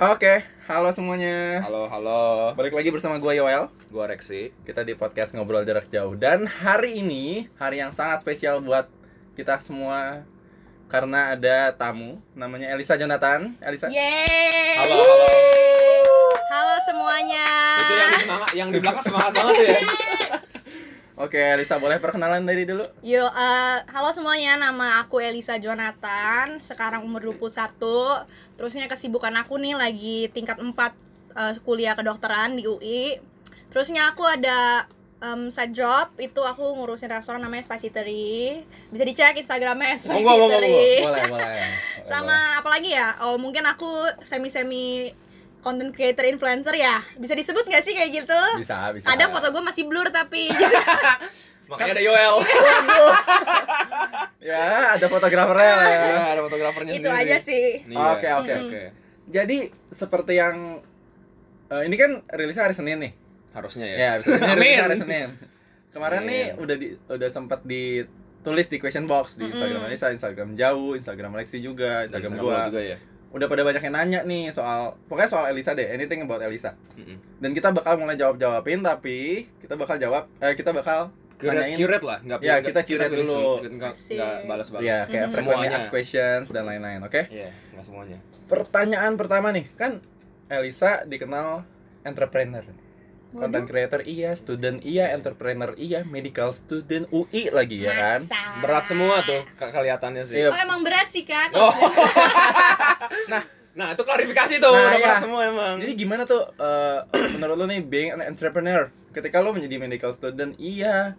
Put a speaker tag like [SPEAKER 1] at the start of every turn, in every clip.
[SPEAKER 1] Oke, halo semuanya.
[SPEAKER 2] Halo, halo.
[SPEAKER 1] Balik lagi bersama gue Yoel.
[SPEAKER 2] Gua Rexi.
[SPEAKER 1] Kita di podcast Ngobrol Jarak Jauh dan hari ini hari yang sangat spesial buat kita semua karena ada tamu namanya Elisa Jonathan. Elisa.
[SPEAKER 3] Iya. Yeay.
[SPEAKER 2] Halo, halo.
[SPEAKER 3] Halo semuanya.
[SPEAKER 2] Itu yang di semangat, yang di belakang semangat banget tuh ya.
[SPEAKER 1] Oke, Elisa boleh perkenalan dari dulu?
[SPEAKER 3] Yo, eh, halo semuanya. Nama aku Elisa Jonathan. Sekarang umur 21. Terusnya kesibukan aku nih lagi tingkat 4 eh, kuliah kedokteran di UI. Terusnya aku ada em side job itu aku ngurusin restoran namanya Spacitory. Bisa dicek Instagramnya Spacitory.
[SPEAKER 1] Monggo, monggo, monggo. Oh, Boleh, boleh. Boleh,
[SPEAKER 3] Iya. Sama apalagi ya? Oh, mungkin aku semi-semi content creator influencer ya. Bisa disebut nggak sih kayak gitu?
[SPEAKER 1] boleh. Bisa, bisa.
[SPEAKER 3] Ada foto gue masih blur tapi
[SPEAKER 2] Makanya ada Yoel.
[SPEAKER 1] Waduh. ya, ada fotografernya lah ya.
[SPEAKER 2] ya, ada fotografernya
[SPEAKER 3] itu gitu aja sih.
[SPEAKER 2] Nih,
[SPEAKER 1] Oke,
[SPEAKER 2] ya.
[SPEAKER 1] oke,
[SPEAKER 3] Mm.
[SPEAKER 1] oke. Jadi seperti yang eh, ini kan rilisnya hari Senin nih.
[SPEAKER 2] Harusnya ya.
[SPEAKER 1] Ya, episode ini
[SPEAKER 2] Amin.
[SPEAKER 1] rilisnya hari Senin. Kemarin
[SPEAKER 2] Amin.
[SPEAKER 1] nih udah di, udah sempat ditulis di question box di Instagram
[SPEAKER 3] Mm-mm.
[SPEAKER 1] Anissa, Instagram Jauh, Instagram Lexi juga,
[SPEAKER 2] Dan
[SPEAKER 1] Instagram
[SPEAKER 2] Instagram
[SPEAKER 1] gua.
[SPEAKER 2] lu juga ya.
[SPEAKER 1] Udah pada banyak yang nanya nih soal pokoknya soal Elisa deh, anything about Elisa.
[SPEAKER 2] Mm-mm.
[SPEAKER 1] Dan kita bakal mulai jawab-jawabin tapi kita bakal jawab eh kita bakal
[SPEAKER 2] Curate, Iya,
[SPEAKER 1] Tanyain.
[SPEAKER 2] curate Iya. lah, enggak
[SPEAKER 1] Ya, kita curate dulu.
[SPEAKER 2] Enggak
[SPEAKER 3] Sih.
[SPEAKER 2] balas-balas.
[SPEAKER 1] ya kayak
[SPEAKER 3] Mm-mm.
[SPEAKER 1] frequently
[SPEAKER 2] Semuanya.
[SPEAKER 1] asked questions dan lain-lain, oke?
[SPEAKER 2] Iya, enggak semuanya.
[SPEAKER 1] Pertanyaan pertama nih, kan Elisa dikenal entrepreneur. Content creator iya, student iya, entrepreneur iya, medical student UI lagi ya kan?
[SPEAKER 3] Masa?
[SPEAKER 2] iya Berat semua tuh ke- kelihatannya sih.
[SPEAKER 1] Iya.
[SPEAKER 3] Oh emang berat sih kak.
[SPEAKER 2] Oh.
[SPEAKER 1] Nah.
[SPEAKER 2] nah, itu klarifikasi tuh,
[SPEAKER 1] Nah,
[SPEAKER 2] udah
[SPEAKER 1] iya.
[SPEAKER 2] berat semua emang.
[SPEAKER 1] Jadi gimana tuh eh, menurut lo nih being an entrepreneur? Ketika lo menjadi medical student, iya.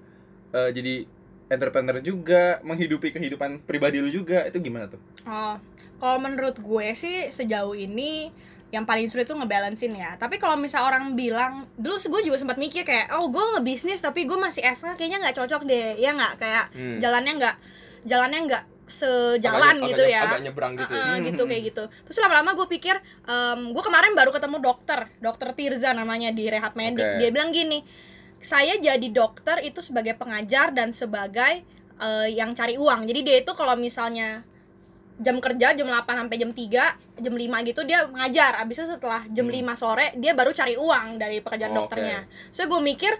[SPEAKER 1] Eh, jadi entrepreneur juga, menghidupi kehidupan pribadi lo juga, itu gimana tuh?
[SPEAKER 3] Oh, kalau menurut gue sih sejauh ini yang paling sulit tuh ngebalancein ya. Tapi kalau misal orang bilang, dulu gue juga sempat mikir kayak, oh gue ngebisnis tapi gue masih FH kayaknya nggak cocok deh, ya nggak kayak
[SPEAKER 2] Hmm.
[SPEAKER 3] jalannya nggak jalannya nggak sejalan
[SPEAKER 2] Agak-
[SPEAKER 3] gitu
[SPEAKER 2] agak-
[SPEAKER 3] ya.
[SPEAKER 2] Agak nyebrang gitu. ya.
[SPEAKER 3] Heeh,
[SPEAKER 1] Hmm.
[SPEAKER 3] gitu kayak gitu terus lama-lama gue pikir gue kemarin baru ketemu dokter dokter Tirza namanya di rehab medik
[SPEAKER 2] Oke.
[SPEAKER 3] dia bilang gini saya jadi dokter itu sebagai pengajar dan sebagai eh, yang cari uang jadi dia itu kalau misalnya jam kerja jam 8 sampai jam 3 jam 5 gitu dia mengajar abis itu setelah jam
[SPEAKER 2] Hmm. Oh,
[SPEAKER 3] 5 sore dia baru cari uang dari pekerjaan
[SPEAKER 2] Oke.
[SPEAKER 3] dokternya so gue mikir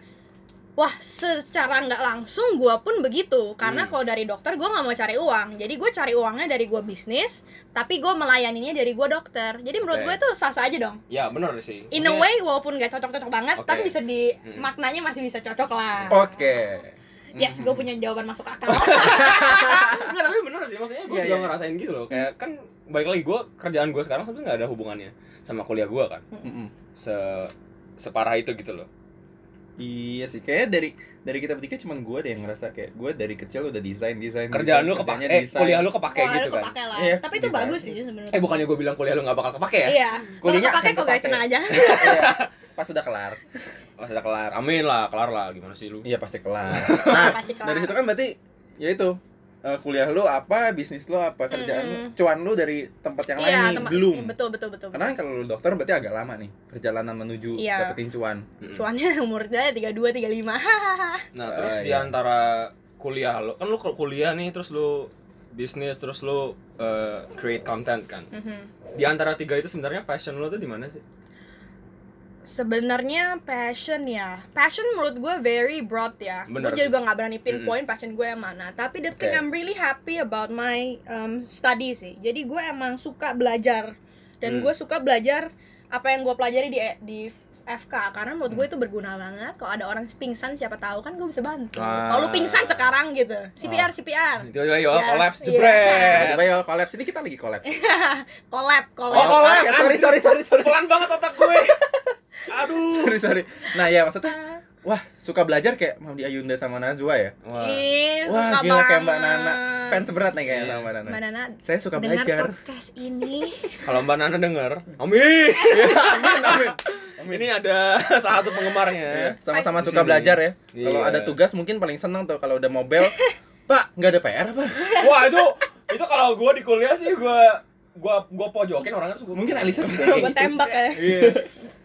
[SPEAKER 3] wah secara nggak langsung gue pun begitu karena
[SPEAKER 2] Hmm.
[SPEAKER 3] kalau dari dokter gue nggak mau cari uang jadi gue cari uangnya dari gue bisnis tapi gue melayaninya dari gue dokter jadi menurut
[SPEAKER 2] Oke.
[SPEAKER 3] gue itu sah sah aja dong
[SPEAKER 2] Ya, benar sih.
[SPEAKER 3] in a way walaupun nggak cocok cocok banget
[SPEAKER 2] Oke.
[SPEAKER 3] tapi bisa di
[SPEAKER 2] Hmm.
[SPEAKER 3] maknanya masih bisa cocok lah
[SPEAKER 1] Oke.
[SPEAKER 3] Ah. yes gue punya jawaban masuk akal
[SPEAKER 2] Enggak, tapi bener sih maksudnya gue
[SPEAKER 1] Iya,
[SPEAKER 2] juga
[SPEAKER 1] iya.
[SPEAKER 2] ngerasain gitu loh kayak kan balik lagi gue kerjaan gue sekarang sebenarnya nggak ada hubungannya sama kuliah gue kan
[SPEAKER 1] Mm-mm.
[SPEAKER 2] se separah itu gitu loh
[SPEAKER 1] Iya sih, kayaknya dari dari kita bertiga cuman gue deh yang ngerasa kayak gue dari kecil udah desain desain.
[SPEAKER 2] kerjaan
[SPEAKER 1] desain,
[SPEAKER 2] lu kepake
[SPEAKER 1] kerjanya
[SPEAKER 2] eh,
[SPEAKER 1] desain.
[SPEAKER 2] kuliah lu kepake
[SPEAKER 3] Kalau
[SPEAKER 2] gitu
[SPEAKER 3] lu
[SPEAKER 2] kan
[SPEAKER 3] kepake lah
[SPEAKER 1] Iya,
[SPEAKER 3] tapi itu
[SPEAKER 1] bisa.
[SPEAKER 3] bagus sih sebenarnya
[SPEAKER 2] eh bukannya gue bilang kuliah lu nggak bakal kepake ya
[SPEAKER 3] iya kalau
[SPEAKER 1] Kuliahnya
[SPEAKER 3] kepake
[SPEAKER 1] akan
[SPEAKER 3] kok guys
[SPEAKER 1] kepake.
[SPEAKER 3] tenang aja
[SPEAKER 1] Iya, pas udah kelar.
[SPEAKER 2] pas ada kelar amin lah kelar lah gimana sih lu
[SPEAKER 1] Iya pasti kelar. Nah,
[SPEAKER 3] pasti kelar
[SPEAKER 1] dari situ kan berarti ya itu eh, kuliah lu apa bisnis lu apa kerjaan lu cuan lu dari tempat yang lain
[SPEAKER 3] Iya,
[SPEAKER 1] nih,
[SPEAKER 3] tempat-
[SPEAKER 1] belum
[SPEAKER 3] betul betul betul
[SPEAKER 1] karena kan kalau lu dokter berarti agak lama nih perjalanan menuju
[SPEAKER 3] Iya.
[SPEAKER 1] dapetin cuan
[SPEAKER 2] Mm-mm.
[SPEAKER 3] cuannya umurnya tiga dua tiga lima
[SPEAKER 2] nah
[SPEAKER 1] Ah,
[SPEAKER 2] terus di
[SPEAKER 1] iya.
[SPEAKER 2] antara kuliah lu kan lu ke- kuliah nih terus lu bisnis terus lu eh, create content kan
[SPEAKER 1] Mm-hmm.
[SPEAKER 2] di antara tiga itu sebenarnya passion lu tuh di mana sih
[SPEAKER 3] Sebenarnya passion ya, passion menurut gue very broad ya.
[SPEAKER 2] Benar.
[SPEAKER 3] Gue juga nggak berani pinpoint passion gue yang mana. Tapi the thing
[SPEAKER 1] Oke.
[SPEAKER 3] I'm really happy about my um, study sih. Jadi gue emang suka belajar
[SPEAKER 1] Mm.
[SPEAKER 3] dan
[SPEAKER 2] Hmm.
[SPEAKER 3] gue suka belajar apa yang gue pelajari di di FK karena
[SPEAKER 1] Mm.
[SPEAKER 3] menurut gue itu berguna banget. Kalau ada orang pingsan siapa tahu kan gue bisa bantu.
[SPEAKER 2] Ah.
[SPEAKER 3] Kalau lu pingsan sekarang gitu,
[SPEAKER 1] Ah.
[SPEAKER 3] CPR CPR,
[SPEAKER 2] tiba-tiba yo
[SPEAKER 3] Ya,
[SPEAKER 2] collapse
[SPEAKER 3] iya.
[SPEAKER 2] jebret
[SPEAKER 1] tiba-tiba ya collapse ini kita lagi collapse
[SPEAKER 3] collab collab.
[SPEAKER 2] Oh, collab.
[SPEAKER 1] ya, sorry sorry sorry sorry
[SPEAKER 2] pelan banget otak gue aduh
[SPEAKER 1] sorry sorry nah ya maksudnya wah suka belajar kayak Maudy Ayunda sama Najwa ya
[SPEAKER 2] Wah.
[SPEAKER 3] Ih,
[SPEAKER 1] wah
[SPEAKER 3] Iya, suka
[SPEAKER 1] gila kayak Mbak
[SPEAKER 3] banget.
[SPEAKER 1] Nana fans berat nih kayaknya
[SPEAKER 2] Iya.
[SPEAKER 1] sama Mbak Nana
[SPEAKER 3] Mbak Nana
[SPEAKER 1] saya suka
[SPEAKER 3] dengar
[SPEAKER 1] belajar
[SPEAKER 3] podcast ini.
[SPEAKER 2] Kalau Mbak Nana denger, Amin.
[SPEAKER 1] amin amin
[SPEAKER 2] Ini ada salah satu
[SPEAKER 1] Iya,
[SPEAKER 2] penggemarnya.
[SPEAKER 1] sama-sama
[SPEAKER 3] Iya.
[SPEAKER 2] Di
[SPEAKER 1] suka
[SPEAKER 2] sini.
[SPEAKER 1] belajar ya kalau
[SPEAKER 2] Iya.
[SPEAKER 1] ada tugas mungkin paling seneng tuh kalau udah mobile pak nggak ada PR apa
[SPEAKER 2] Wah, itu itu kalau gua di kuliah sih gua gua gua pojokin orangnya tuh gua. Gitu.
[SPEAKER 1] mungkin Elisa juga
[SPEAKER 3] gue tembak ya.
[SPEAKER 2] Iya.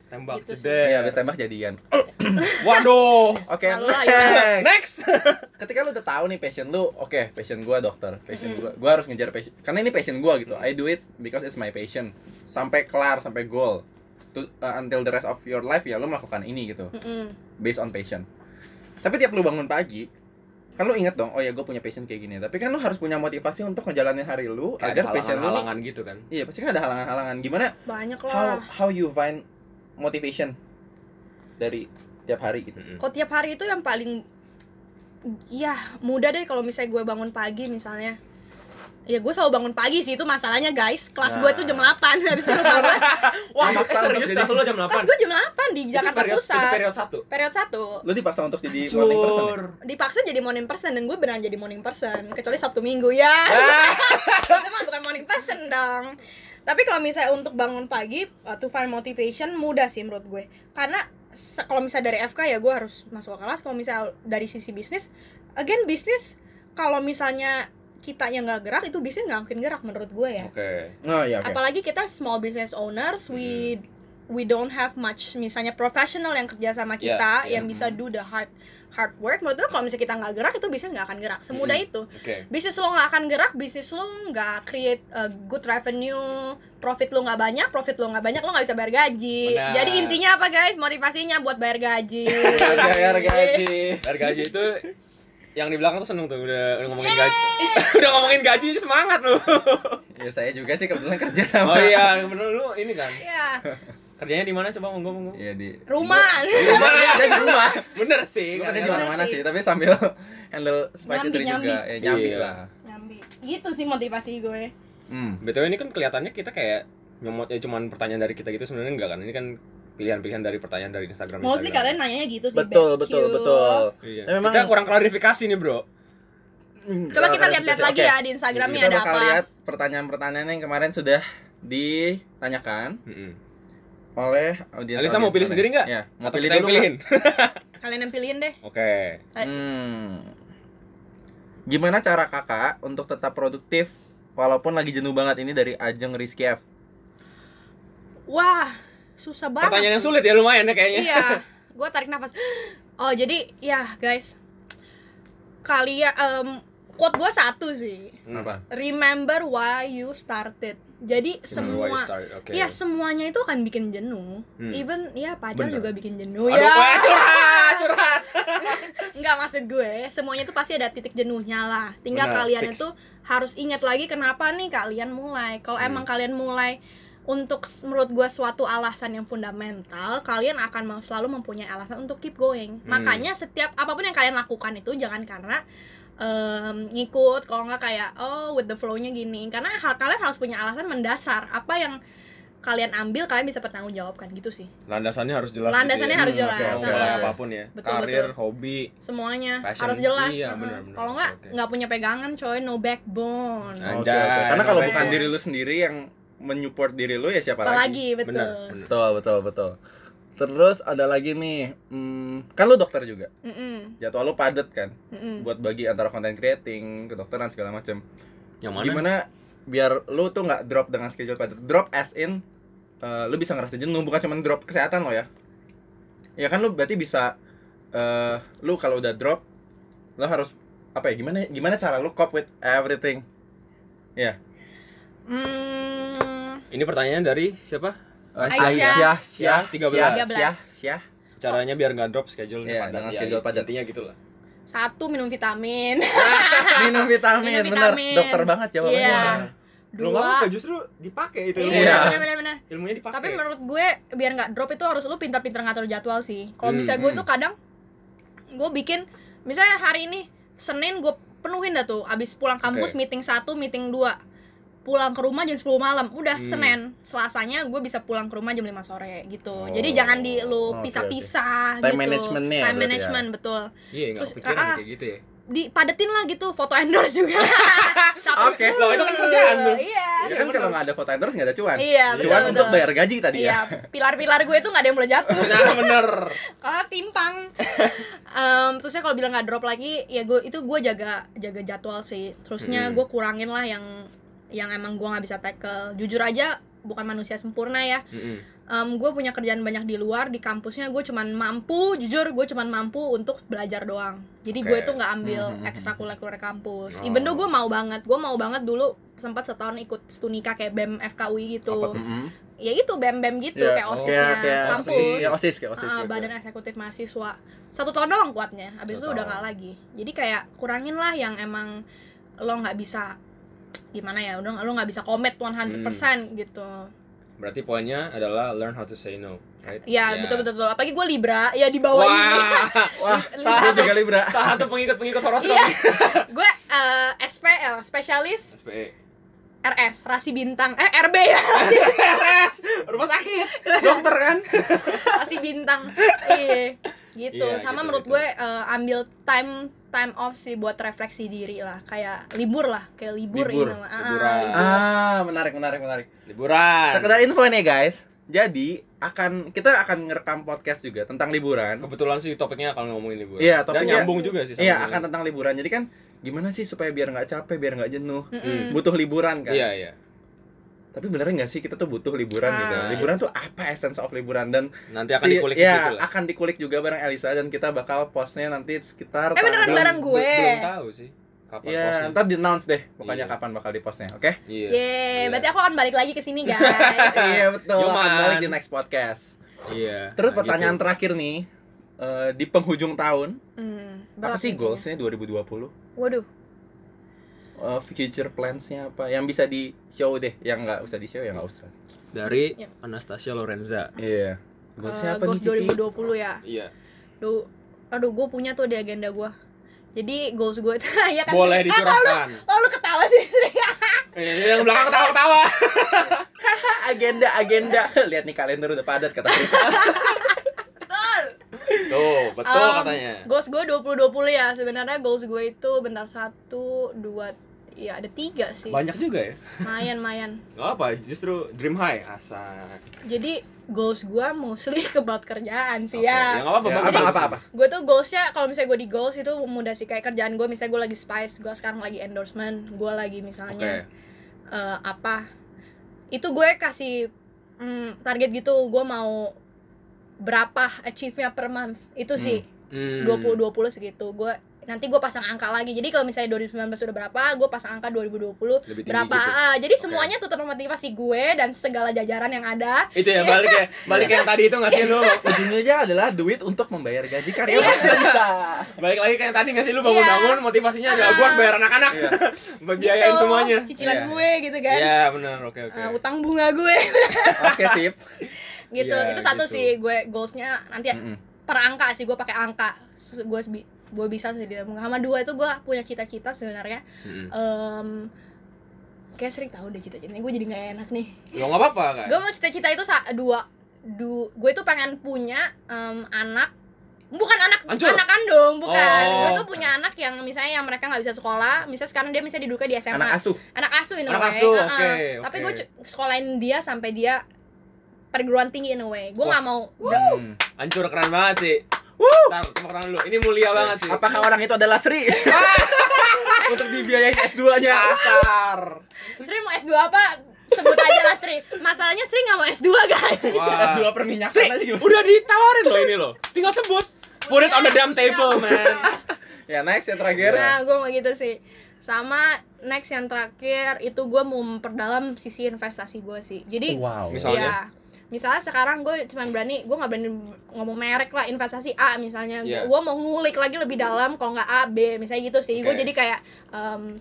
[SPEAKER 2] tembak
[SPEAKER 3] Gitu sih.
[SPEAKER 1] Iya,
[SPEAKER 2] jeder
[SPEAKER 1] habis tembak jadian.
[SPEAKER 2] waduh
[SPEAKER 1] Oke.
[SPEAKER 3] Selalu lah, ya.
[SPEAKER 1] next.
[SPEAKER 2] next
[SPEAKER 1] Ketika lu udah tahu nih passion lu, oke, passion gua dokter, passion
[SPEAKER 3] Mhm.
[SPEAKER 1] gua. Gua harus ngejar passion. Karena ini passion gua gitu. I do it because it's my passion. Sampai kelar, sampai goal. To, uh, until the rest of your life ya lu melakukan ini gitu,
[SPEAKER 3] Mm-mm.
[SPEAKER 1] based on passion. Tapi tiap lu bangun pagi, kan lu inget dong, oh ya gua punya passion kayak gini. Tapi kan lu harus punya motivasi untuk ngejalanin hari lu
[SPEAKER 2] Kayak
[SPEAKER 1] agar
[SPEAKER 2] ada
[SPEAKER 1] passion lu nih-
[SPEAKER 2] halangan gitu kan
[SPEAKER 1] Iya, pasti kan ada halangan-halangan. Gimana
[SPEAKER 3] banyak
[SPEAKER 1] how
[SPEAKER 3] lah
[SPEAKER 1] how you find motivation dari tiap hari gitu?
[SPEAKER 2] Mm-mm.
[SPEAKER 3] kok tiap hari itu yang paling ya mudah deh kalau misalnya gue bangun pagi misalnya ya gue selalu bangun pagi sih itu masalahnya guys kelas gue tuh jam
[SPEAKER 2] Nah.
[SPEAKER 3] 8 habis itu baru
[SPEAKER 2] wah
[SPEAKER 1] Maksa
[SPEAKER 2] eh, serius
[SPEAKER 1] untuk
[SPEAKER 2] kelas
[SPEAKER 1] jadi-
[SPEAKER 2] lu jam 8
[SPEAKER 3] kelas gue jam 8 di
[SPEAKER 2] Itu
[SPEAKER 3] Jakarta
[SPEAKER 2] period- itu
[SPEAKER 3] Pusat
[SPEAKER 2] period satu
[SPEAKER 3] periode 1
[SPEAKER 1] Lu dipaksa untuk jadi morning person. ya?
[SPEAKER 2] Hancur.
[SPEAKER 3] dipaksa jadi morning person dan gue beneran jadi morning person kecuali Sabtu Minggu ya
[SPEAKER 2] Ah.
[SPEAKER 3] itu mah bukan morning person dong tapi kalau misalnya untuk bangun pagi uh, to find motivation mudah sih menurut gue karena se- kalau misalnya dari FK ya gue harus masuk ke kelas kalau misalnya dari sisi bisnis again bisnis kalau misalnya kitanya nggak gerak itu bisnis nggak mungkin gerak menurut gue ya
[SPEAKER 2] oke
[SPEAKER 1] Oh iya, oke.
[SPEAKER 3] apalagi kita small business owners we we don't have much misalnya profesional yang kerja sama
[SPEAKER 2] Yeah,
[SPEAKER 3] kita
[SPEAKER 2] yeah.
[SPEAKER 3] yang bisa do the hard hard work menurut gue kalau misalnya kita nggak gerak itu bisnis nggak akan gerak semudah itu
[SPEAKER 2] oke
[SPEAKER 3] bisnis lo nggak akan gerak bisnis lo nggak create a good revenue profit lo nggak banyak profit lo nggak banyak lo nggak bisa bayar gaji
[SPEAKER 2] Benar.
[SPEAKER 3] jadi intinya apa guys motivasinya buat bayar gaji
[SPEAKER 1] Gara-gara gaji.
[SPEAKER 2] Bayar gaji itu yang di belakang tuh seneng tuh udah, udah ngomongin gaji udah ngomongin gaji semangat lu
[SPEAKER 1] Ya saya juga sih kebetulan kerja sama.
[SPEAKER 2] oh iya bener lu ini kan
[SPEAKER 3] ya
[SPEAKER 2] kerjanya di mana coba monggo monggo
[SPEAKER 1] Iya di
[SPEAKER 3] rumah Iya,
[SPEAKER 1] Di rumah Iya, kerja di rumah.
[SPEAKER 2] bener sih kan.
[SPEAKER 1] Lu kerja
[SPEAKER 2] nggak
[SPEAKER 1] di
[SPEAKER 2] ada-
[SPEAKER 1] mana-mana sih, tapi sambil handle spicy
[SPEAKER 3] Nyambi,
[SPEAKER 1] tree
[SPEAKER 3] nyambi.
[SPEAKER 1] juga. Ya nyambi
[SPEAKER 2] Iya.
[SPEAKER 1] lah.
[SPEAKER 3] Nyambi. gitu sih motivasi gue
[SPEAKER 1] Hmm.
[SPEAKER 2] btw ini kan kelihatannya kita kayak nyomot ya cuman pertanyaan dari kita gitu sebenarnya enggak kan ini kan pilihan-pilihan dari pertanyaan dari Instagram
[SPEAKER 3] mostly
[SPEAKER 2] Instagram.
[SPEAKER 3] kalian nanyanya gitu sih
[SPEAKER 1] Betul,
[SPEAKER 3] BQ.
[SPEAKER 1] betul, betul.
[SPEAKER 2] Iya.
[SPEAKER 1] Ya, memang-
[SPEAKER 2] kita kurang klarifikasi nih bro
[SPEAKER 3] coba kita lihat-lihat lagi ya di Instagramnya
[SPEAKER 1] Kita
[SPEAKER 3] ada
[SPEAKER 1] bakal
[SPEAKER 3] apa
[SPEAKER 1] lihat pertanyaan-pertanyaan yang kemarin sudah ditanyakan
[SPEAKER 2] Mm-mm.
[SPEAKER 1] oleh audiens.
[SPEAKER 2] Alisa mau
[SPEAKER 1] audiens
[SPEAKER 2] pilih
[SPEAKER 1] kemarin.
[SPEAKER 2] sendiri nggak?
[SPEAKER 1] Iya, mau
[SPEAKER 2] Atau
[SPEAKER 1] pilih
[SPEAKER 2] kita yang
[SPEAKER 1] dulu. nggak?
[SPEAKER 2] pilihin
[SPEAKER 3] kalian yang pilihin deh
[SPEAKER 2] oke
[SPEAKER 1] Hmm. Gimana cara kakak untuk tetap produktif walaupun lagi jenuh banget ini dari Ajeng Rizky F.
[SPEAKER 3] wah susah banget
[SPEAKER 2] pertanyaan yang sulit ya lumayan ya kayaknya
[SPEAKER 3] iya gue tarik nafas oh jadi ya guys kalian em, quote gue satu sih
[SPEAKER 2] Hmm.
[SPEAKER 1] Apa?
[SPEAKER 3] remember why you started jadi
[SPEAKER 2] Why you
[SPEAKER 3] semua
[SPEAKER 2] started, oke
[SPEAKER 3] Iya semuanya itu akan bikin jenuh.
[SPEAKER 2] Hmm.
[SPEAKER 3] Even ya pacar
[SPEAKER 2] Bener.
[SPEAKER 3] juga bikin jenuh
[SPEAKER 2] Aduh, eh, wah,
[SPEAKER 3] ya.
[SPEAKER 2] curhat, curhat.
[SPEAKER 3] Enggak maksud gue, semuanya itu pasti ada titik jenuhnya lah. Tinggal
[SPEAKER 2] Benar,
[SPEAKER 3] kalian
[SPEAKER 2] fix.
[SPEAKER 3] itu harus ingat lagi kenapa nih kalian mulai. Kalau
[SPEAKER 2] Hmm.
[SPEAKER 3] emang kalian mulai untuk s- menurut gue suatu alasan yang fundamental, kalian akan mau selalu mempunyai alasan untuk keep going.
[SPEAKER 2] Hmm.
[SPEAKER 3] Makanya setiap apapun yang kalian lakukan itu jangan karena em, ngikut, kalau nggak kayak oh with the flow-nya gini. Karena hal kalian harus punya alasan mendasar apa yang kalian ambil kalian bisa bertanggung jawabkan gitu sih.
[SPEAKER 2] landasannya harus jelas gitu
[SPEAKER 3] Landasannya
[SPEAKER 2] ya.
[SPEAKER 1] Hmm,
[SPEAKER 3] harus
[SPEAKER 1] oke,
[SPEAKER 3] jelas.
[SPEAKER 2] Kayak
[SPEAKER 1] oke.
[SPEAKER 2] mulai
[SPEAKER 3] Nah,
[SPEAKER 2] apapun ya
[SPEAKER 3] Betul,
[SPEAKER 2] karir hobi
[SPEAKER 3] semuanya
[SPEAKER 2] Passion.
[SPEAKER 3] harus jelas.
[SPEAKER 2] Iya,
[SPEAKER 3] Heeh.
[SPEAKER 2] benar, benar.
[SPEAKER 3] Kalau nggak
[SPEAKER 2] Oke, oke.
[SPEAKER 3] nggak punya pegangan, coy, no backbone.
[SPEAKER 2] Nah,
[SPEAKER 1] Oke,
[SPEAKER 2] Anjay,
[SPEAKER 1] oke. Karena kalau
[SPEAKER 3] oke.
[SPEAKER 1] bukan diri lu sendiri yang menyupport diri lu ya siapa lagi?
[SPEAKER 3] Apalagi betul.
[SPEAKER 2] benar benar.
[SPEAKER 1] Betul, betul, betul. Terus ada lagi nih, hmm, kan lu dokter juga.
[SPEAKER 3] Mm-mm,
[SPEAKER 1] Jadwal lu padat kan
[SPEAKER 3] mm-mm.
[SPEAKER 1] buat bagi antara content creating, kedokteran segala macam.
[SPEAKER 2] yang mana
[SPEAKER 1] Gimana biar lu tuh nggak drop dengan schedule padat? Drop as in eh, lu bisa ngerasa jenuh bukan cuma drop kesehatan lo ya. Ya kan lu berarti bisa eh lu kalau udah drop lu harus apa ya gimana gimana cara lu cope with everything
[SPEAKER 3] Mm,
[SPEAKER 2] ini pertanyaan dari siapa
[SPEAKER 3] Aisyah.
[SPEAKER 1] Oh, Aisyah, Syah,
[SPEAKER 2] Syah,
[SPEAKER 1] 13. Syah, Syah.
[SPEAKER 2] caranya biar nggak drop schedule
[SPEAKER 1] Iya, jangan schedule padat.
[SPEAKER 2] intinya gitu lah
[SPEAKER 3] satu minum vitamin.
[SPEAKER 1] Minum vitamin,
[SPEAKER 3] Minum
[SPEAKER 1] bener.
[SPEAKER 3] vitamin.
[SPEAKER 1] Dokter banget jawabannya.
[SPEAKER 3] Iya.
[SPEAKER 2] Lu nggak apa-apa gitu.
[SPEAKER 3] Dua.
[SPEAKER 2] justru dipakai itu ilmunya.
[SPEAKER 1] Iya.
[SPEAKER 3] Iya, benar benar benar.
[SPEAKER 2] ilmunya dipakai
[SPEAKER 3] Tapi menurut gue biar nggak drop itu harus lu pintar-pintar ngatur jadwal sih. Kalau
[SPEAKER 2] Hmm,
[SPEAKER 3] misalnya gue
[SPEAKER 1] hmm.
[SPEAKER 3] tuh kadang gue bikin misalnya hari ini Senin gue penuhin dah tuh abis pulang kampus
[SPEAKER 2] Oke.
[SPEAKER 3] meeting satu meeting dua pulang ke rumah jam 10 malam udah
[SPEAKER 2] Hmm.
[SPEAKER 3] Senin Selasanya gue bisa pulang ke rumah jam 5 sore
[SPEAKER 2] Oh.
[SPEAKER 3] gitu jadi jangan di
[SPEAKER 1] Oke,
[SPEAKER 3] lu
[SPEAKER 1] oke.
[SPEAKER 3] pisah-pisah
[SPEAKER 1] Time
[SPEAKER 3] gitu
[SPEAKER 1] managementnya ya
[SPEAKER 3] time
[SPEAKER 1] berarti ya.
[SPEAKER 3] management betul
[SPEAKER 2] iya nggak
[SPEAKER 3] Terus,
[SPEAKER 2] kepikiran
[SPEAKER 3] ah, ah.
[SPEAKER 2] kayak gitu ya
[SPEAKER 3] dipadetin lah gitu foto endorse juga Sabtu
[SPEAKER 1] Oke,
[SPEAKER 2] so itu kan kerjaan tuh.
[SPEAKER 3] iya
[SPEAKER 1] Ya kan kalau nggak ada foto endorse nggak ada cuan.
[SPEAKER 3] iya betul,
[SPEAKER 1] cuan untuk
[SPEAKER 3] betul.
[SPEAKER 1] bayar gaji tadi ya.
[SPEAKER 3] iya pilar-pilar gue itu nggak ada yang boleh jatuh
[SPEAKER 2] nah bener
[SPEAKER 3] kalau timpang Em, terusnya kalau bilang nggak drop lagi ya gue itu gue jaga jaga jadwal sih terusnya
[SPEAKER 2] Mm-mm.
[SPEAKER 3] gue kurangin lah yang yang emang gue nggak bisa tackle jujur aja bukan manusia sempurna ya
[SPEAKER 2] Mm-mm.
[SPEAKER 3] gue punya kerjaan banyak di luar di kampusnya gue cuman mampu jujur gue cuman mampu untuk belajar doang jadi gue
[SPEAKER 1] Oke.
[SPEAKER 3] tuh nggak ambil
[SPEAKER 1] Mhm.
[SPEAKER 3] ekstrakurikuler kampus
[SPEAKER 2] Oh.
[SPEAKER 3] even though gue mau banget gue mau banget dulu sempat setahun ikut stunika kayak bem fkui gitu
[SPEAKER 2] Apa
[SPEAKER 1] Mm-mm.
[SPEAKER 3] ya itu bem bem gitu
[SPEAKER 1] Ya,
[SPEAKER 3] kayak
[SPEAKER 2] oh,
[SPEAKER 3] osisnya
[SPEAKER 1] Kayak kayak
[SPEAKER 3] kampus
[SPEAKER 1] osis, ya, osis kayak osis.
[SPEAKER 3] Ah,
[SPEAKER 1] gitu.
[SPEAKER 3] badan eksekutif mahasiswa satu tahun doang kuatnya habis itu
[SPEAKER 2] Satu
[SPEAKER 3] udah
[SPEAKER 2] tahun.
[SPEAKER 3] nggak lagi jadi kayak kurangin lah yang emang lo nggak bisa gimana ya udah lo nggak bisa komit 100%
[SPEAKER 2] Hmm.
[SPEAKER 3] gitu
[SPEAKER 2] Berarti poinnya adalah learn how to say no, right?
[SPEAKER 3] ya
[SPEAKER 2] Ya.
[SPEAKER 3] betul betul betul apalagi gue libra ya di bawah ini
[SPEAKER 2] Wah,
[SPEAKER 1] Wah,
[SPEAKER 3] Libra.
[SPEAKER 1] salah juga Libra.
[SPEAKER 2] salah satu pengikut pengikut horoskop.
[SPEAKER 3] iya gue eh, SPL spesialis
[SPEAKER 2] SPE.
[SPEAKER 3] RS rasi bintang eh RB ya rasi,
[SPEAKER 2] RS, rumah sakit, dokter kan?
[SPEAKER 3] rasi bintang iya gitu
[SPEAKER 2] Iya,
[SPEAKER 3] sama
[SPEAKER 2] gitu,
[SPEAKER 3] menurut
[SPEAKER 2] gitu.
[SPEAKER 3] gue eh, ambil time time off sih buat refleksi diri lah kayak libur lah kayak libur,
[SPEAKER 1] Libur,
[SPEAKER 3] ini mah. Ah,
[SPEAKER 2] liburan.
[SPEAKER 3] libur.
[SPEAKER 1] Ah, menarik, menarik, menarik.
[SPEAKER 2] Liburan.
[SPEAKER 1] Sekedar info nih guys. Jadi akan kita akan ngerekam podcast juga tentang liburan.
[SPEAKER 2] Kebetulan sih topiknya kalau ngomongin liburan.
[SPEAKER 1] Iya,
[SPEAKER 2] Dan
[SPEAKER 1] topiknya-
[SPEAKER 2] nyambung juga sih. sama
[SPEAKER 1] Iya,
[SPEAKER 2] ini.
[SPEAKER 1] akan tentang liburan. Jadi kan gimana sih supaya biar nggak capek, biar nggak jenuh?
[SPEAKER 3] Mm-mm.
[SPEAKER 1] Butuh liburan kan?
[SPEAKER 2] Iya, iya.
[SPEAKER 1] Tapi beneran nggak sih kita tuh butuh liburan gitu?
[SPEAKER 3] Ah.
[SPEAKER 1] Liburan tuh apa essence of liburan dan
[SPEAKER 2] Nanti akan
[SPEAKER 1] si-
[SPEAKER 2] dikulik di
[SPEAKER 1] ya,
[SPEAKER 2] situ lah.
[SPEAKER 1] akan dikulik juga bareng Elisa dan kita bakal postnya nanti sekitar
[SPEAKER 3] Eh, beneran
[SPEAKER 1] tanggal-
[SPEAKER 3] bareng gue.
[SPEAKER 2] Be- Belum tahu sih kapan
[SPEAKER 1] Iya,
[SPEAKER 2] posnya.
[SPEAKER 1] ntar di announce deh pokoknya
[SPEAKER 2] Iya.
[SPEAKER 1] kapan bakal di postnya, oke?
[SPEAKER 2] Iya.
[SPEAKER 3] Yeay,
[SPEAKER 2] Iya.
[SPEAKER 3] berarti aku akan balik lagi ke sini, guys.
[SPEAKER 1] iya betul. Akan
[SPEAKER 2] Yoman.
[SPEAKER 1] balik di next podcast.
[SPEAKER 2] Iya.
[SPEAKER 1] Terus
[SPEAKER 2] Nah,
[SPEAKER 1] pertanyaan terakhir nih, eh, di penghujung tahun
[SPEAKER 3] Hmm,
[SPEAKER 1] apa
[SPEAKER 3] berat
[SPEAKER 1] sih
[SPEAKER 3] nih
[SPEAKER 1] goalsnya 2020?
[SPEAKER 3] kayaknya. Waduh,
[SPEAKER 1] Eh, future plans-nya apa? Yang bisa di show deh, yang nggak usah di show ya nggak usah.
[SPEAKER 2] gitu. dari
[SPEAKER 3] Iya.
[SPEAKER 2] Anastasia Lorenza.
[SPEAKER 1] Iya.
[SPEAKER 3] eh,
[SPEAKER 1] Goalsnya apa nih
[SPEAKER 3] goals
[SPEAKER 1] Cici?
[SPEAKER 3] 2020 ya.
[SPEAKER 2] Iya.
[SPEAKER 3] Duh, aduh, gue punya tuh di agenda gue. Jadi goals gue itu ya kan.
[SPEAKER 2] Boleh
[SPEAKER 3] sih. Ah,
[SPEAKER 2] dicurahkan.
[SPEAKER 3] oh, lu ketawa sih.
[SPEAKER 2] Eh, Yang belakang ketawa-ketawa.
[SPEAKER 1] agenda agenda lihat nih kalender udah padat kata Chris.
[SPEAKER 2] Tuh, betul
[SPEAKER 3] Um,
[SPEAKER 2] katanya.
[SPEAKER 3] goals gue 2020 ya. Sebenarnya goals gue itu bentar satu, dua, ya ada tiga sih.
[SPEAKER 2] Banyak juga ya.
[SPEAKER 3] Mayan, mayan.
[SPEAKER 2] Gak apa, justru dream high asal.
[SPEAKER 3] Jadi goals gue mostly about kerjaan sih
[SPEAKER 2] Oke, iya,
[SPEAKER 3] ya.
[SPEAKER 2] nggak apa-apa,
[SPEAKER 1] Ya, apa
[SPEAKER 2] bagus, bagus,
[SPEAKER 1] apa apa.
[SPEAKER 2] bagus.
[SPEAKER 3] gue tuh goalsnya kalau misalnya gue di goals itu mudah sih kayak kerjaan gue misalnya gue lagi spice gue sekarang lagi endorsement gue lagi
[SPEAKER 2] Oke.
[SPEAKER 3] misalnya eh, apa itu gue kasih mm, target gitu gue mau berapa achieve-nya per month itu sih
[SPEAKER 2] Hmm.
[SPEAKER 3] 2020 segitu gue nanti gue pasang angka lagi jadi kalau misalnya 2019 sudah berapa gue pasang angka 2020
[SPEAKER 2] Lebih tinggi
[SPEAKER 3] berapa
[SPEAKER 2] gitu.
[SPEAKER 3] Ah, jadi semuanya tuh termotivasi gue dan segala jajaran yang ada
[SPEAKER 2] Itu ya balik ya, balik yang tadi itu nggak sih lu?
[SPEAKER 1] Ujungnya aja adalah duit untuk membayar gaji
[SPEAKER 2] Iya.
[SPEAKER 3] Iya.
[SPEAKER 1] karyawan bisa.
[SPEAKER 2] Balik lagi ke yang tadi nggak sih lu bangun-bangun motivasinya adalah gua harus bayar anak-anak.
[SPEAKER 1] Iya.
[SPEAKER 2] Biayain
[SPEAKER 3] gitu,
[SPEAKER 2] semuanya.
[SPEAKER 3] cicilan
[SPEAKER 1] Iya.
[SPEAKER 3] gue gitu kan
[SPEAKER 2] Iya, benar. Oke, oke.
[SPEAKER 3] Eh, utang bunga gue
[SPEAKER 1] Oke sip.
[SPEAKER 3] gitu
[SPEAKER 2] Iya,
[SPEAKER 3] itu satu
[SPEAKER 2] gitu. Hmm.
[SPEAKER 3] sih gue goalsnya nanti
[SPEAKER 1] Mm-mm.
[SPEAKER 3] per angka sih gue pakai angka Sus- gue bi- gue bisa sih dia sama dua itu gue punya cita-cita sebenarnya
[SPEAKER 2] Mm-mm.
[SPEAKER 3] Em kayak sering tahu deh cita-citanya gue jadi nggak enak nih
[SPEAKER 2] Lo nggak apa-apa kan?
[SPEAKER 3] gue mau cita-cita itu sa- dua du gue tuh pengen punya em, anak bukan anak
[SPEAKER 2] Hancur.
[SPEAKER 3] anak kandung bukan
[SPEAKER 2] Oh.
[SPEAKER 3] gue tuh punya anak yang misalnya yang mereka nggak bisa sekolah misalnya sekarang dia misalnya diduga di SMA
[SPEAKER 1] Anak asuh.
[SPEAKER 3] anak asuh in a
[SPEAKER 2] Anak
[SPEAKER 3] way.
[SPEAKER 2] asuh,
[SPEAKER 3] Heeh.
[SPEAKER 2] oke,
[SPEAKER 3] tapi
[SPEAKER 2] oke.
[SPEAKER 3] gue cu- sekolahin dia sampai dia perguruan tinggi in a way gue nggak mau
[SPEAKER 1] Hmm.
[SPEAKER 2] Hancur keren banget sih.
[SPEAKER 1] Wuh.
[SPEAKER 2] Ntar tepuk tangan dulu. Ini mulia banget sih.
[SPEAKER 1] Apakah orang itu adalah Sri? Untuk dibiayain S2-nya asar.
[SPEAKER 3] Sri mau S2 apa? Sebut aja lah Sri Masalahnya Sri nggak mau S2 guys
[SPEAKER 2] Wah.
[SPEAKER 1] S2 perminyak
[SPEAKER 2] Sri,
[SPEAKER 1] sana sih gimana?
[SPEAKER 2] udah ditawarin loh ini loh. Tinggal sebut. Put it on the damn
[SPEAKER 3] Iya.
[SPEAKER 2] table, man.
[SPEAKER 1] Ya next yang terakhir.
[SPEAKER 3] Nah gue mau gitu sih Sama next yang terakhir itu gue mau memperdalam sisi investasi gue sih Jadi
[SPEAKER 1] Wow.
[SPEAKER 2] Misal- Misalnya?
[SPEAKER 3] ya, misalnya sekarang gue cuma berani gue nggak berani ngomong merek lah investasi A misalnya
[SPEAKER 2] Iya.
[SPEAKER 3] gue mau ngulik lagi lebih dalam kalau nggak A B misalnya gitu sih gue
[SPEAKER 2] Oke.
[SPEAKER 3] jadi kayak em,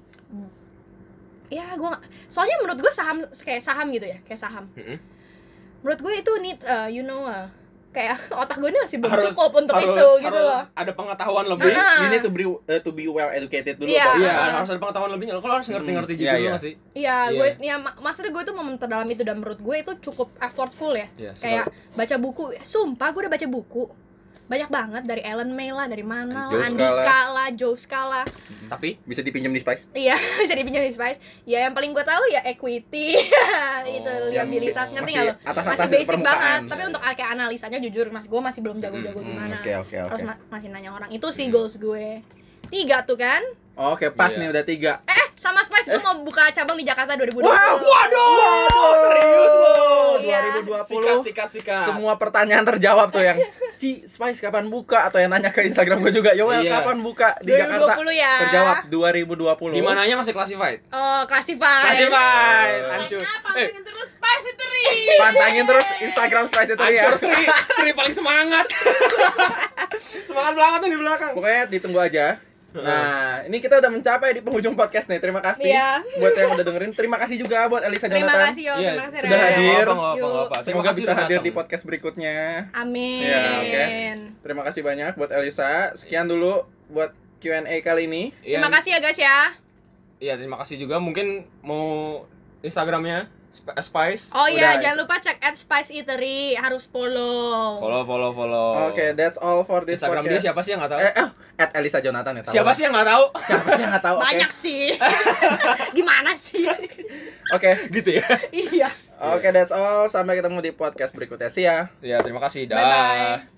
[SPEAKER 3] ya gue nggak- soalnya menurut gue saham kayak saham gitu ya kayak saham
[SPEAKER 2] Mm-mm.
[SPEAKER 3] menurut gue itu need eh, you know eh, kayak otak gue ini masih belum
[SPEAKER 2] Harus-
[SPEAKER 3] cukup untuk
[SPEAKER 2] harus,
[SPEAKER 3] itu gitu
[SPEAKER 2] harus
[SPEAKER 3] loh
[SPEAKER 2] ada pengetahuan
[SPEAKER 1] Be,
[SPEAKER 2] lebih.
[SPEAKER 3] Ah.
[SPEAKER 1] you need to be, eh, to be well educated dulu
[SPEAKER 3] Iya.
[SPEAKER 1] Pak.
[SPEAKER 2] Iya,
[SPEAKER 3] Ah.
[SPEAKER 2] harus ada pengetahuan lebihnya. Lo kalau harus ngerti-ngerti
[SPEAKER 1] Hmm,
[SPEAKER 2] gitu
[SPEAKER 1] iya,
[SPEAKER 2] dulu
[SPEAKER 1] iya.
[SPEAKER 2] nggak sih?
[SPEAKER 3] Iya,
[SPEAKER 2] Iya.
[SPEAKER 3] gue ya mak- maksudnya gue tuh mau memperdalam itu dan menurut gue itu cukup effortful ya.
[SPEAKER 2] Iya,
[SPEAKER 3] Kayak baca buku, sumpah gue udah baca buku banyak banget dari Ellen May lah, dari mana
[SPEAKER 1] Joe
[SPEAKER 3] lah, Andika
[SPEAKER 1] Scala.
[SPEAKER 3] lah, Joe Scala.
[SPEAKER 2] Tapi
[SPEAKER 1] Bisa dipinjam di Spice.
[SPEAKER 3] Iya, jadi pinjam di Spice. Ya yang paling gue tahu ya equity, itu
[SPEAKER 2] Oh,
[SPEAKER 1] yang
[SPEAKER 3] liabilitas ngerti nggak
[SPEAKER 1] masih
[SPEAKER 3] lo?
[SPEAKER 1] atas-atas
[SPEAKER 3] Masih basic
[SPEAKER 1] permukaan. ya. Iya.
[SPEAKER 3] banget, tapi untuk kayak analisanya jujur mas gue masih belum jago-jago
[SPEAKER 2] Hmm,
[SPEAKER 3] gimana.
[SPEAKER 1] Oke oke oke.
[SPEAKER 3] Terus ma- masih nanya orang. Itu sih
[SPEAKER 2] Hmm.
[SPEAKER 3] goals gue. Tiga tuh kan?
[SPEAKER 1] Oke pas
[SPEAKER 2] Iya.
[SPEAKER 1] nih udah tiga. Eh.
[SPEAKER 3] Eh, sama Spice gue mau buka cabang di Jakarta 2020.
[SPEAKER 1] Wah,
[SPEAKER 2] Waduh, serius lo.
[SPEAKER 3] ya.
[SPEAKER 1] 2020
[SPEAKER 2] Sikat, sikat, sikat.
[SPEAKER 1] semua pertanyaan terjawab tuh yang Ci Spice kapan buka atau yang nanya ke Instagram gue juga Yowel
[SPEAKER 2] Iya.
[SPEAKER 1] kapan buka di Jakarta
[SPEAKER 3] 2020 ya.
[SPEAKER 1] terjawab 2020
[SPEAKER 2] di mananya masih classified.
[SPEAKER 3] Oh, classified.
[SPEAKER 2] Classified.
[SPEAKER 1] Hancur.
[SPEAKER 4] Mereka
[SPEAKER 2] Eh.
[SPEAKER 4] pantengin terus pas itu ri.
[SPEAKER 1] pantangin terus Instagram Spice itu ya
[SPEAKER 2] Hancur Sri, Sri paling semangat. semangat banget nih di belakang.
[SPEAKER 1] pokoknya ditunggu aja Nah, ini kita udah mencapai di penghujung podcast nih. Terima kasih
[SPEAKER 3] Iya.
[SPEAKER 1] buat yang udah dengerin. Terima kasih juga buat Elisa
[SPEAKER 3] Terima
[SPEAKER 1] Jonathan.
[SPEAKER 3] kasih,
[SPEAKER 2] Iya,
[SPEAKER 3] Yo. Terima kasih,
[SPEAKER 1] sudah
[SPEAKER 3] Ren.
[SPEAKER 1] hadir.
[SPEAKER 2] Nggak apa-apa, nggak apa-apa. Terima
[SPEAKER 1] Semoga
[SPEAKER 2] kasih
[SPEAKER 1] bisa
[SPEAKER 2] udah
[SPEAKER 1] hadir di
[SPEAKER 2] datang.
[SPEAKER 1] podcast berikutnya.
[SPEAKER 3] Amin.
[SPEAKER 1] Iya, oke. Terima kasih banyak buat Elisa. Sekian dulu buat Q&A kali ini.
[SPEAKER 2] Iya,
[SPEAKER 3] Terima kasih ya, guys ya.
[SPEAKER 2] Iya, terima kasih juga. Mungkin mau Instagramnya Sp- eh, Spice.
[SPEAKER 3] Oh iya,
[SPEAKER 1] Udah.
[SPEAKER 3] jangan lupa cek at Spice Eatery, harus follow.
[SPEAKER 2] Follow, follow, follow.
[SPEAKER 1] Oke, that's all for this
[SPEAKER 2] Oh. Instagram dia
[SPEAKER 1] podcast.
[SPEAKER 2] siapa sih yang nggak tahu?
[SPEAKER 1] Eh, eh, at Elisa Jonathan ya. tahu
[SPEAKER 2] siapa
[SPEAKER 1] lah.
[SPEAKER 2] sih yang nggak tahu?
[SPEAKER 1] Siapa sih yang nggak tahu? Oke.
[SPEAKER 3] Banyak sih. Gimana sih?
[SPEAKER 1] Oke,
[SPEAKER 2] gitu ya.
[SPEAKER 3] iya.
[SPEAKER 1] oke, that's all. Sampai ketemu di podcast berikutnya. See ya.
[SPEAKER 2] Ya, terima kasih. Dah.
[SPEAKER 3] Bye-bye.